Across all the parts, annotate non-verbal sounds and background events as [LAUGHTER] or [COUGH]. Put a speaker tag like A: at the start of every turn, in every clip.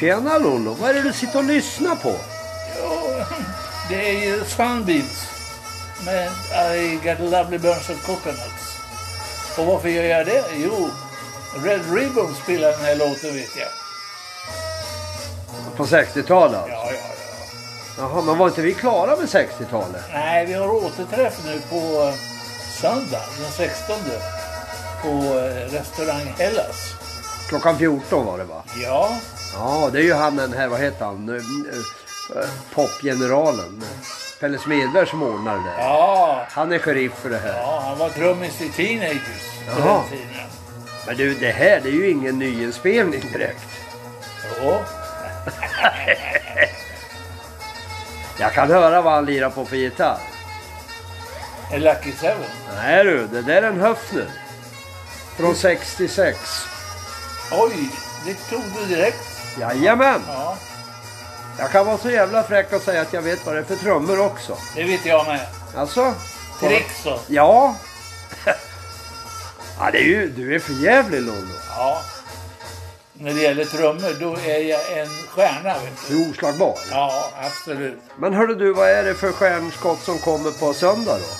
A: Tjena Lollo, vad är det du sitter och lyssnar på?
B: Jo, det är ju Sunbeams med I got lovely bunch of coconuts. Och varför gör jag det? Jo, Red Ribbon spelar den här låten vet jag.
A: På 60-talet?
B: Ja, ja, ja.
A: Jaha, men var inte vi klara med 60-talet?
B: Nej, vi har återträff nu på eh, söndag den 16 på eh, restaurang Hellas.
A: Klockan 14 var det va?
B: Ja,
A: Ja, det är ju han den här, vad heter han? Eh, eh, Popgeneralen. Pelle Smedberg som ordnar det.
B: ja,
A: Han är sheriff för det här.
B: ja, han var trummis i Teenagers på
A: Jaha.
B: den tiden.
A: Men du, det här det är ju ingen nyinspelning direkt.
B: Jo,
A: Jag kan höra vad han lirar på för gitarr.
B: en Lucky Seven.
A: Nej du, det där är en höfner. Från 66.
B: Oj, det tog du direkt.
A: Jajamän!
B: Ja,
A: Jag kan vara så jävla fräck och säga att jag vet vad det är för trummor också.
B: det vet jag med.
A: Alltså?
B: Trixo.
A: Ja. [LAUGHS] ja det är ju, du är för jävlig Lollo.
B: Ja. När det gäller trummor, då är jag en stjärna. Vet du.
A: Du är oslagbar.
B: Ja, absolut.
A: Men hörru du, vad är det för stjärnskott som kommer på söndag då?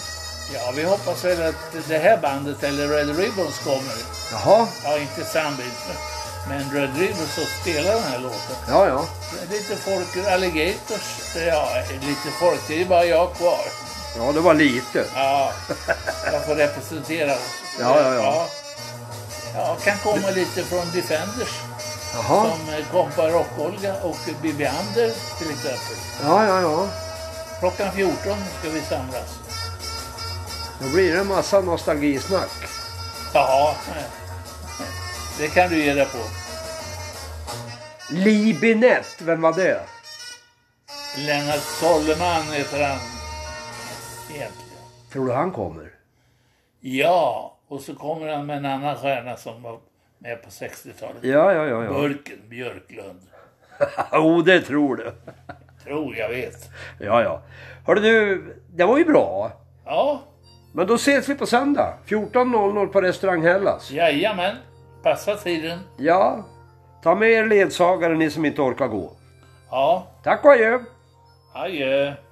B: Ja, vi hoppas väl att det här bandet, eller Red Ribbons, kommer.
A: Jaha,
B: Ja, inte Sunbeats, men Red Ribbons och spelar den här låten.
A: ja ja.
B: Lite folk ur Alligators. Ja, lite folk. Det är bara jag kvar.
A: Ja det var lite.
B: Ja, jag får representera oss.
A: Ja, ja, ja.
B: Ja, kan komma lite från Defenders
A: Jaha,
B: som eh, kompar Rock-Olga och Bibi Anders till exempel.
A: ja ja ja.
B: Klockan 14 ska vi samlas.
A: Då blir det en massa nostalgisnack.
B: Ja, det kan du ge dig på.
A: Libinett, vem var det?
B: Lennart Solleman heter han egentligen.
A: Tror du han kommer?
B: Ja, och så kommer han med en annan stjärna som var med på 60-talet.
A: Ja ja ja. [LAUGHS] Jo
B: Burken Björklund.
A: ja. oh, det tror du.
B: Tror jag vet.
A: Ja ja. Hörru du, det var ju bra.
B: Ja,
A: Men då ses vi på söndag. 14.00 på restaurang Hellas.
B: jajamän. Passa tiden.
A: Ja. Ta med er ledsagare ni som inte orkar gå.
B: Ja,
A: Tack och adjö.
B: adjö.